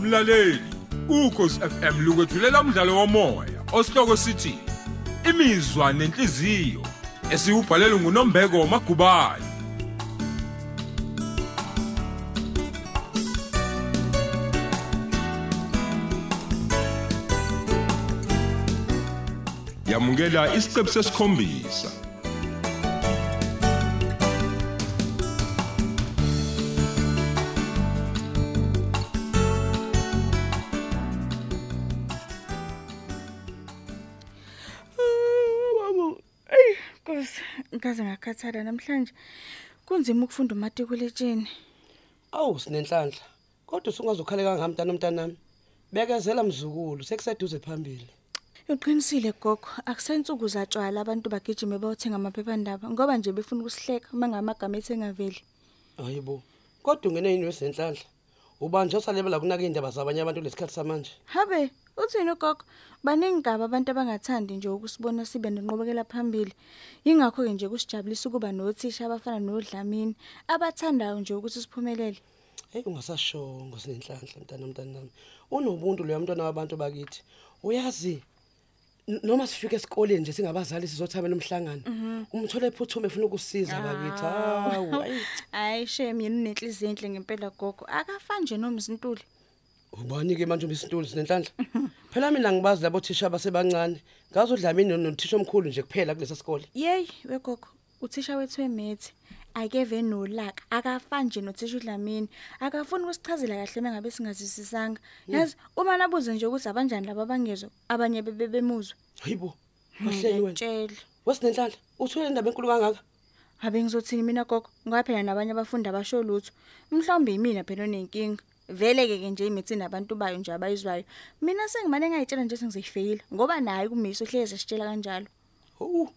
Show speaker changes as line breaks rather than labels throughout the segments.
mlaleli ukhosi FM lukwethulela umdlalo womoya osihloko sithi imizwa nenhliziyo esiyubhalelwe nguNombeko Magubane yamukela isiqephu sesikhombisa
Babu, ey, Nkosi, ngikaze ngakhathala namhlanje. Kunzima ukufunda umatikuletsheni.
Awu sinenhlanhla. Kodwa usungazokhaleka ngami mntana nomntanami. Bekezela mzukulu, sekuseduze phambili.
Uqinisile gogo, akusensuku zatshwala abantu bagijime bayothenga amaphephandaba ngoba nje befuna ukusihleka uma ngamagama ethengaveli.
Hayibo. Kodwa ungene yini wesenhlanhla? Ubanje osalebela kunaka indaba zabanye abantu lesikhathi samanje.
Habe, uthini ugogo? Baningi kabi abantu abangathandi nje ukusibona sibe nenqobekela phambili. Yingakho ke nje kusijabulisa ukuba nothisha abafana noDlamini abathandayo nje ukuthi siphumelele.
Hey ungasashongo sinenhlanhla mntana nomntanami. Unobuntu loya mntwana wabantu bakithi. Uyazi n- noma sifika esikoleni nje singabazali sizothabela umhlangano. Umthole iphuthume efuna ukusiza bakithi.
Ah.
Hawu. hayi.
Hayi shame yena unenhliziyo enhle ngempela gogo. Akafani nje nomzintuli.
Ubani ke manje ubisintuli sinenhlanhla? Phela mina ngibazi labo thisha abasebancane. Ngazi udlamini nothisha omkhulu nje kuphela kulesa sikole.
Yey, wegogo, uthisha wethu emethe akeve nolaka, akafani nje nothisha uDlamini. Akafuni ukusichazela kahle mangabe singazisisanga. Yazi uma nabuze nje ukuthi abanjani laba bangezwe, abanye bebe bemuzwe.
Hayibo. Wahleli wena.
Ngiyakutshela.
Wesinenhlanhla, uthule indaba enkulu kangaka.
Abe ngizothini mina gogo? Ngoba phela nabanye abafundi abasho lutho. Mhlawumbe yimina phela onenkinga. Veleke ke nje imithi nabantu bayo nje abayizwayo. Mina sengimane ngayitshela nje sengizifeyila ngoba naye kumiso hleze sitshela kanjalo.
Hu.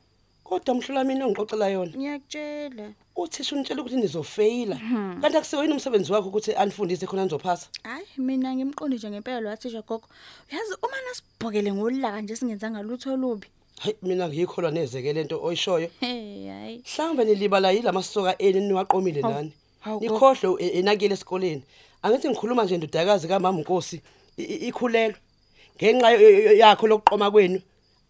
Kodwa umhlula mina ongixoxela yona.
Ngiyakutshela.
Uthisha unitshela ukuthi nizofeyila. Kanti akusiwe yini umsebenzi wakho ukuthi anifundise khona nizophasa?
Hayi mina ngimqondi nje ngempela lo athisha gogo. Uyazi uma nasibhokele ngolaka nje singenzanga lutho lubi.
Hayi mina ngiyikholwa nezeke lento oyishoyo.
Hey hayi.
Mhlawumbe nilibala yila masoka eni niwaqomile nani.
hawu, gogo.
Nikhohle enakile esikoleni. Angithi ngikhuluma nje ndodakazi kaMama Nkosi i- i- ikhulelwe. Ngenxa yo- yo- yakho lokuqoma kwenu.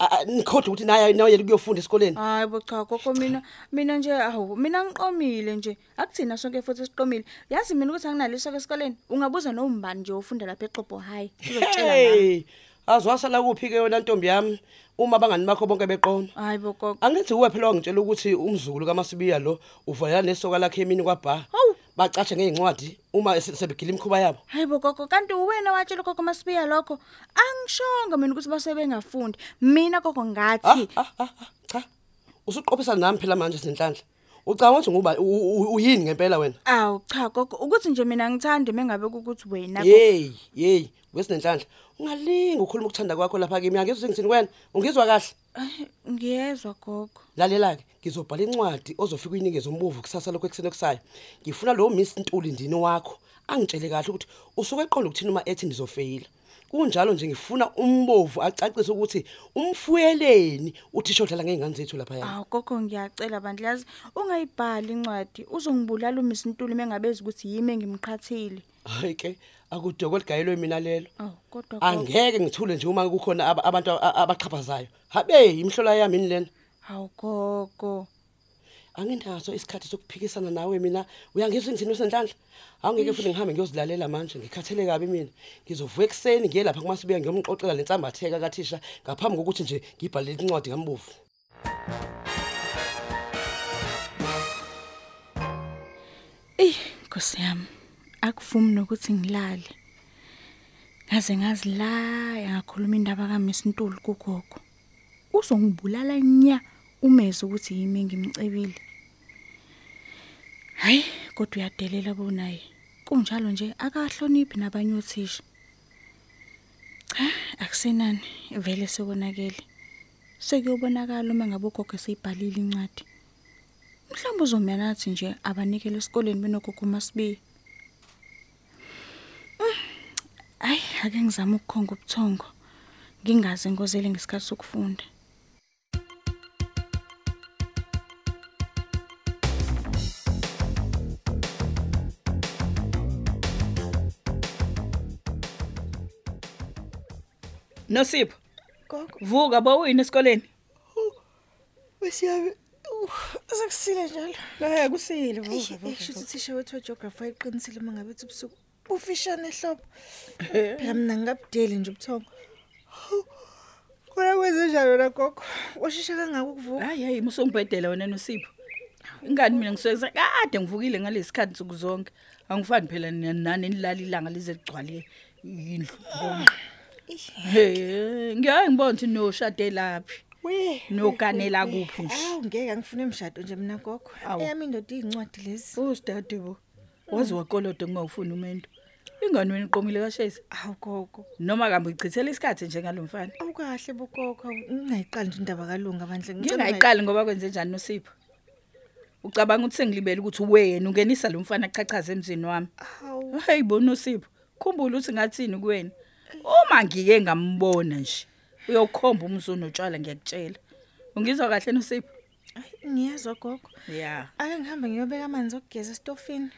a- a- Nikhohle ukuthi naye naye kuyofunda esikoleni.
Hayi bo cha gogo mina mina nje awu mina ngiqomile nje akuthina sonke futhi siqomile. Yazi mina ukuthi anginaliso esikoleni. Ungabuza nombani nje ofunda lapha eXhobo hayi. Uzotshela nami.
Hey. Azwasala kuphi ke yona ntombi yami uma bangani bakho bonke beqoma?
Hayi bo gogo.
Angithi uwe phela ongitshela ukuthi umzukulu kaMasibiya lo uvayela nesoka lakhe emini kwaBha.
Hawu.
Bacatshe ngeencwadi uma se- sebegila imkhuba yabo.
Hayi bo gogo kanti uwena watshela gogo Masibiya lokho. Angishongo mina ukuthi basebengafunda. Mina gogo
Ah,
ngathi
ah, ah, ah, cha. Usuqophisa nami phela manje senhlanhla. Ucabanga ukuthi nguba u- u- uyini ngempela wena?
awu cha gogo ukuthi nje mina ngithande mengabe ukuthi wena gogo.
Hey, hey, wesinenhlanhla. Ungalingi ukukhuluma ukuthanda kwakho lapha kimi. Angizwe ukuthi ngithini wena. Ungizwa kahle.
Ay, Ngiyezwa gogo.
Lalela ke, ngizobhala incwadi ozofika uyinikeze umbuvu kusasa lokho ekseni kusayo. Ngifuna lo Miss Ntuli ndini wakho angitshele kahle ukuthi usuke eqonda ukuthini uma ethi nizofeyila. Kunjalo nje ngifuna umbovu acacise ukuthi umfuyeleni uthisha odlala ngeingane zethu lapha yena.
Awu gogo ngiyacela bandla yazi ungayibhali incwadi uzongibulala uMiss Ntuli mengabezi ukuthi yimi engimqhathile.
Hayi ke, akudoko ligayelwe mina lelo.
Awu kodwa gogo.
Angeke ngithule nje uma kukhona aba- abantu a- a- abaqhaphazayo. Habe, imhlola yami yini lena.
Awu gogo.
Anginaso isikhathi sokuphikisana nawe mina. Uyangizwa ngithini usenhlanhla? Awungeke futhi ngihambe ngiyozilalela manje. Ngikhathele kabi mina. Ngizovuka ekseni ngiye lapha kumasibuya ngiyomxoxela lensambatheka kathisha ngaphambi kokuthi nje ngibhale incwadi ngambovu.
Ey, Nkosi yami. Akuvumi nokuthi ngilale. Ngaze ngazilaya ngakhuluma indaba kaMiss Ntuli kugogo. Uzongibulala nya umeze ukuthi yimi engimcebile. Hayi, kodwa uyadelela bonaye. Kunjalo nje akahloniphi nabanye othisha. Cha, akusenani vele sekonakele. Sekuyobonakala uma ngabe ugogo eseyibhalile incwadi. Mhlawumbe uzomyanathi nje abanikele esikoleni benogogo masibiya. Ay, Mm, ake ngizame ukukhonga ubuthongo. Ngingaze ngozele ngesikhathi sokufunda.
Nosipho,
Gogo,
vuka bowini esikoleni.
wesiyabe asekusile njalo.
Ngeke usile vuka
Eish,
vuka.
Shuthi uthisha wethu wegeography wayiqinisile uma ngabe ethi ubusuku bufishane ehlobo. Phela mina ngingabudeli nje ubuthongo. Kona kwenze njalo la gogo. Washisha kangaka ukuvuka.
Hayi hayi musungibhedela wena Nosipho. Ingani mina ngiseza kade ngivukile ngalesikhathi nsuku zonke. Angifani phela nina- nani nilala ilanga lize ligcwale indlu. Hey, ngeke ngibone ukuthi noshade laphi.
We.
Noganela kuphi nje?
Awu ngeke angifune imshado nje mina gogo.
Awu.
Eyami indoda izincwadi lezi.
Usidadebo. Mm. Wazi wakolodo ngawufuna umento. Ingane wena iqomile kashayisa.
Awu gogo.
Noma kambe ichithele isikhathi njengalomfana.
Awukahle bogogo. Ngingayiqali nje indaba kalunga bandle.
Ngingayiqali ngoba kwenze njani noSipho. Ucabanga ukuthi sengilibele ukuthi wena ungenisa lo mfana achachaze emzini wami.
Awu.
Hey bona uSipho, khumbula ukuthi ngathini kuwena. Uma ngike ngambona nje, uyokhomba umzuno otshwala ngiyakutshela. Ungizwa kahle noSipho?
Ayi, Ngiyezwa gogo.
Yeah.
Ake ngihambe ngiyobeka amanzi okugeza esitofini.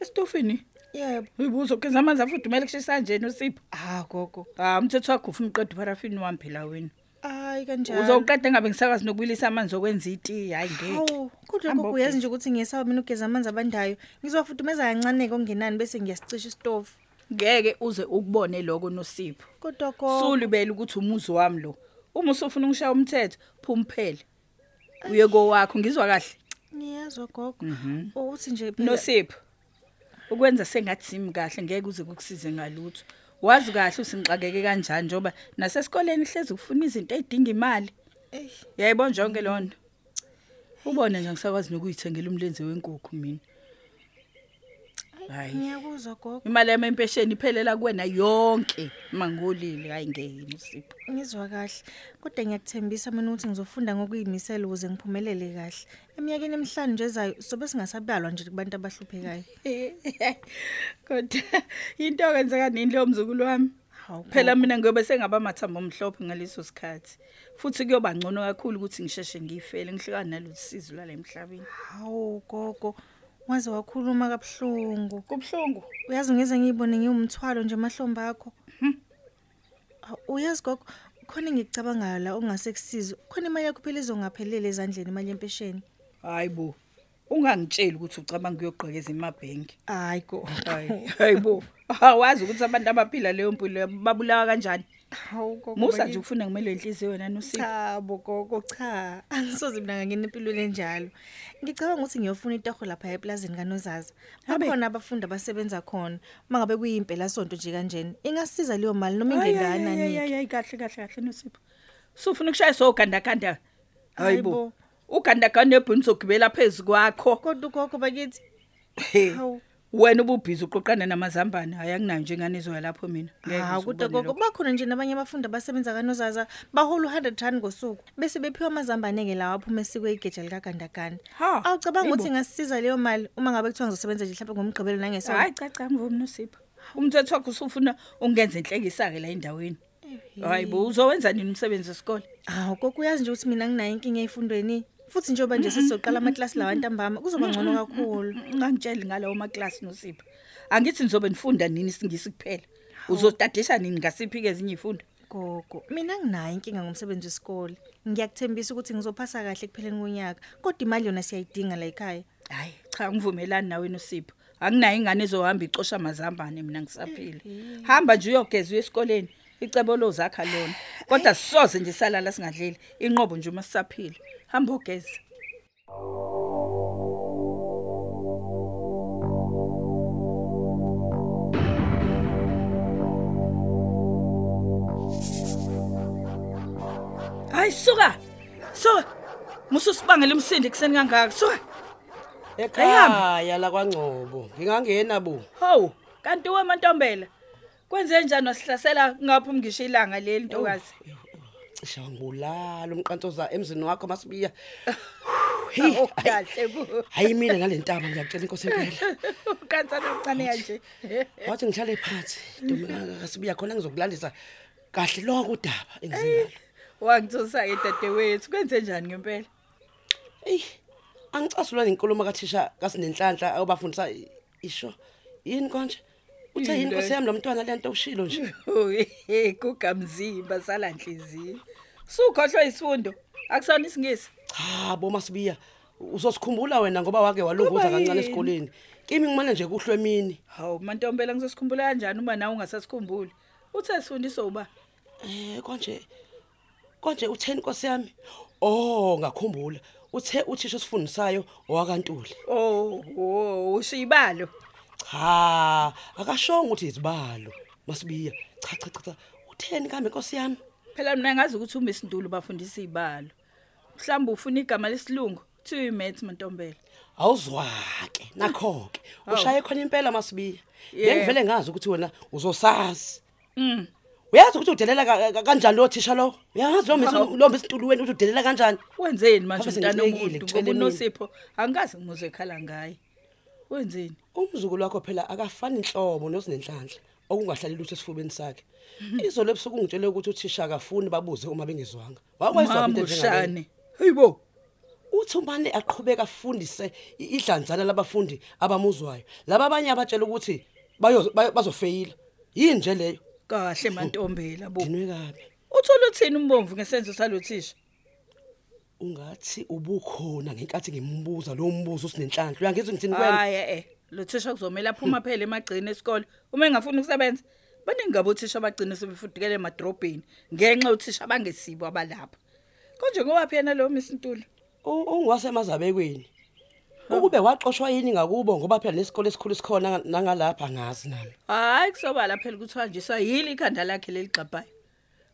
Esitofini.
Yebo.
Uyibuzo kenza amanzi afudumele kushisa nje noSipho.
Ah gogo.
Ah umthetho wakho ufuna uqeda parafini wami phela wena.
Hayi kanjani.
Uzoqeda ngabe ngisakwazi nokubuyisa amanzi okwenza iti hayi ngeke.
Hawu, kodwa
Hamba
gogo
ugeze.
uyazi nje ukuthi ngiyesawa mina ugeza amanzi abandayo. Ngizofudumeza kancane kongenani bese ngiyasicisha isitofu.
Ngeke uze ukubone lokho noSipho.
Kodwa gogo.
Sulibele ukuthi umuzi wami lo. Uma usufuna ngishaya umthetho, phumphele. Uye kowakho ngizwa kahle.
Ngiyezwa gogo.
Mhm.
Ukuthi nje phela-
Nosipho. Ukwenza sengathi simi kahle ngeke uze kukusize ngalutho. Wazi kahle usingxakeke kanjani njoba nasesikoleni hlezi ufuna izinto ezidinga imali.
Eish.
Yayibona jonke lonto. Ubone nje ngisakwazi nokuyithengela umlenze wenkukhu mina. Hayi.
Ngiyakuzwa gogo.
Imali yami empesheni iphelela kuwena yonke mangolile hayi ngeke Nosipho.
Ngizwa kahle. Kodwa ngiyakuthembisa mina ukuthi ngizofunda ngokuyimisela ukuze ngiphumelele kahle. Eminyakeni emihlanu nje ezayo sobe singasabalwa nje kubantu abahluphekayo.
Kodwa into okwenzeka nini lo mzukulu wami?
Hawu.
Phela mina ngobe sengaba mathambo omhlophe ngaleso sikhathi. Futhi kuyoba ngcono kakhulu ukuthi ngisheshe ngifele ngihlukane nalosizo lalemhlabeni.
hawu gogo. Waze wakhuluma kabhlungu.
Kubhlungu.
Uyazi ngeze ngiyibone ngiyumthwalo nje emahlombe akho. Awu, Uyazi gogo khona engikucabangayo la ongasekusizo. Khona imali yakho phela izongaphelele ezandleni imali yempesheni.
Hayibo. Ungangitsheli ukuthi ucabanga ukuyogqekeza emabhenki.
Hayi gogo.
Hayibo. Awazi ukuthi abantu abaphila leyo mpilo babulawa kanjani.
Hawu gogo.
Musa
baki-
nje ufuna ngimele inhliziyo wena nosipho.
cha bogogo cha angisoze mina ngangena empilweni enjalo ngicabanga ukuthi ngiyofuna itaho lapha eplazini kanozaza
Habe.
bakhona abafundi abasebenza khona uma ngabe kuyimpela sonto nje kanjena ingasiza leyo mali noma
Hayi, hayi,
ingengana
hayi,
nike
hayi, hayi, kahle kahle kahle nosipho. Sufuna ukushayisa ogandaganda. Hayibo.
Hayibo.
Ugandaganda ebhuni zogibela phezulu kwakho.
kodwa ugogo bakithi hawu
wena ububhizi uqoqana namazambane hayi anginayo njengane izwa lapho mina Ngeke
hawu
ngize
kodwa
ubone
gogo
lokho.
bakhona nje nabanye abafundi abasebenza kanozaza bahola u-100 rand ngosuku bese bephiwa amazambane-ke lawo aphuma esikwe igeja likagandaganda
Ha,
awucabanga ukuthi
yibo.
ingasisiza leyo mali uma ngabe kuthiwa ngizosebenza nje mhlawumbe ngomgqibelo nangesonto
hayi cha cha mvumi nosipho umthetho wakho usufuna ungenza inhlekisa ke la endaweni hayi bo uzowenza nini umsebenzi wesikole
Hawu kokuyazi nje ukuthi mina nginayo inkinga efundweni futhi njoba nje sesizoqala amaklasi lawantambama kuzoba ngcono kakhulu.
ungangitsheli ngalawo maklasi nosipho angithi nizobe nifunda nini isingisi kuphela uzotadisha nini ngasiphi ke ezinye ifundo
Gogo, mina nginayo inkinga ngomsebenzi wesikole. Ngiyakuthembisa ukuthi ngizophasa kahle kupheleni konyaka. Kodwa imali yona siyayidinga la ekhaya.
hayi cha ngivumelani nawe nosipho anginayo ingane ezohamba icosha amazambane mina ngisaphila hamba nje uyogeza uye esikoleni icebo lozakha lona kodwa sisoze nje salala singadleli inqobo nje uma sisaphila hamba ogeza hayi suka suka mususibangela umsindi kuseni kangaka suka
ekhaya la kwangcobo ngingangena bo
Hawu, kanti wemantombela. Kwenze njani wasihlasela ngapha umngisho ilanga leli ntokazi?
cisha ngibulala umqantoza emzini wakho masibiya
Hawu, kahle bo.
hayi mina ngale ntama ngiyakutshela inkosi impela
Ukhatha nokucane kanje.
wathi ngihlale phansi ntomasibiya khona ngizokulandisa kahle lonke udaba engizengalo
Wangithusa ke dadewethu. Kwenze njani ngempela?
eyi angicasulwa nenkulumo kathisha kasinenhlanhla abafundisa isho yini konje uthe yini
Into
nkosi yami lo mntwana le nto ushilo nje
Ohe kugamzimba salanhliziyo. Sukhohlwa isifundo. Akusona isingisi.
cha bo masibiya uzosikhumbula wena ngoba wake walunguza
Kuba
kancane
yini?
esikoleni kimi ngimane nje kuhlwe mini
Hawu mantombela ngizosikhumbula kanjani uma nawe ungasasikhumbuli? Uthe sifundiswa uba
Eh konje konje uthe inkosi yami oh ngakhumbula uthe uthisha osifundisayo owakantuli
oh oh ushibalo.
cha akashonga ukuthi izibalo masibiya cha cha cha, cha utheni kambe inkosi yami
Phela mina ngazi ukuthi uma isindulu bafundisa izibalo. Mhlawumbe ufuna igama lesilungu kuthi maths mantombela.
awuzwake nakho ke ushaye khona impela masibiya
Yeah.
ngivele ngazi ukuthi wena uzosazi
Mm.
uyazi ukuthi udelela ka- ka- kanjani lo thisha lo uyazi lo misi
Hawu.
lo misi ntulu wena ukuthi udelela kanjani
Wenzeni manje
Ngabe
mntana
sengibekile,
omuntu
kucele
ngoba
mina.
unosipho angikaze ngimuzwe ekhala ngaye. Wenzeni?
umzukulu wakho phela akafani inhlobo nozinenhlanhla okungahlali lutho esifubeni sakhe izolo ebusuku ungitshele ukuthi uthisha akafuni babuze uma bengezwanga wakwezwa
Mama
into njengale
ushane. Hayibo.
uthi umane aqhubeka afundise i- idlanzana labafundi abamuzwayo laba abanye abatshela ukuthi bayo- bayo- bazofeyila yini nje leyo
Kahle mantombela bo.
dinwe kabi
Uthola uthini umbomvu ngesenzo salothisha?
ungathi ubukhona ngenkathi ngimbuza lo mbuzo usinenhlanhla uyangizwa ngithini kwena
Hayi eh lothisha kuzomela aphuma phela emagcini esikole uma engafuni ukusebenza. Baningi ngabothisha abagcina sebefudukele emadrobheni ngenxa uthisha bangesibo abalapha. Konje ngowaphi yena lo Miss Ntuli?
U- ungiwasemazabekweni ukube waxoshwa yini ngakubo ngoba phela nesikole esikhulu esikhona nangalapha angazi nami
Hayi kusobala phela kuthiwa nje sayili ikhanda lakhe leligxabhayo.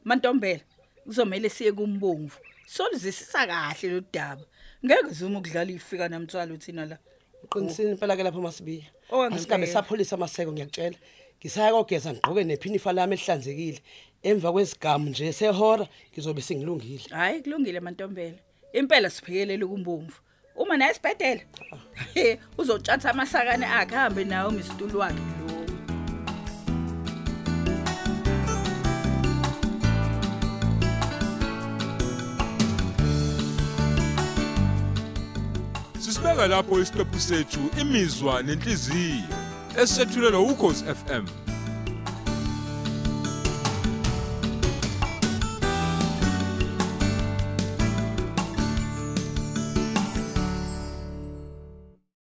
Mantombela kuzomela siye kumbomvu. Solizisisa kahle lo daba. Ngeke zuma ukudlala ifika namthwalo thina la.
uqinisini impela ke lapho masibiya
Owangempela.
asigabe sapholisa amaseko ngiyakutshela ngisaya kogeza ngigqoke nephinifa lami elihlanzekile emva kwesigamu nje sehora ngizobe sengilungile
Hayi kulungile mantombela. Impela siphikelele kumbomvu. Uma naye sibhedela. Uzotshatha amasakane akhe ahambe nawo misitulu wakhe lo.
Sisibeka lapho isiqephu sethu imizwa nenhliziyo esethulelwa ukhozi FM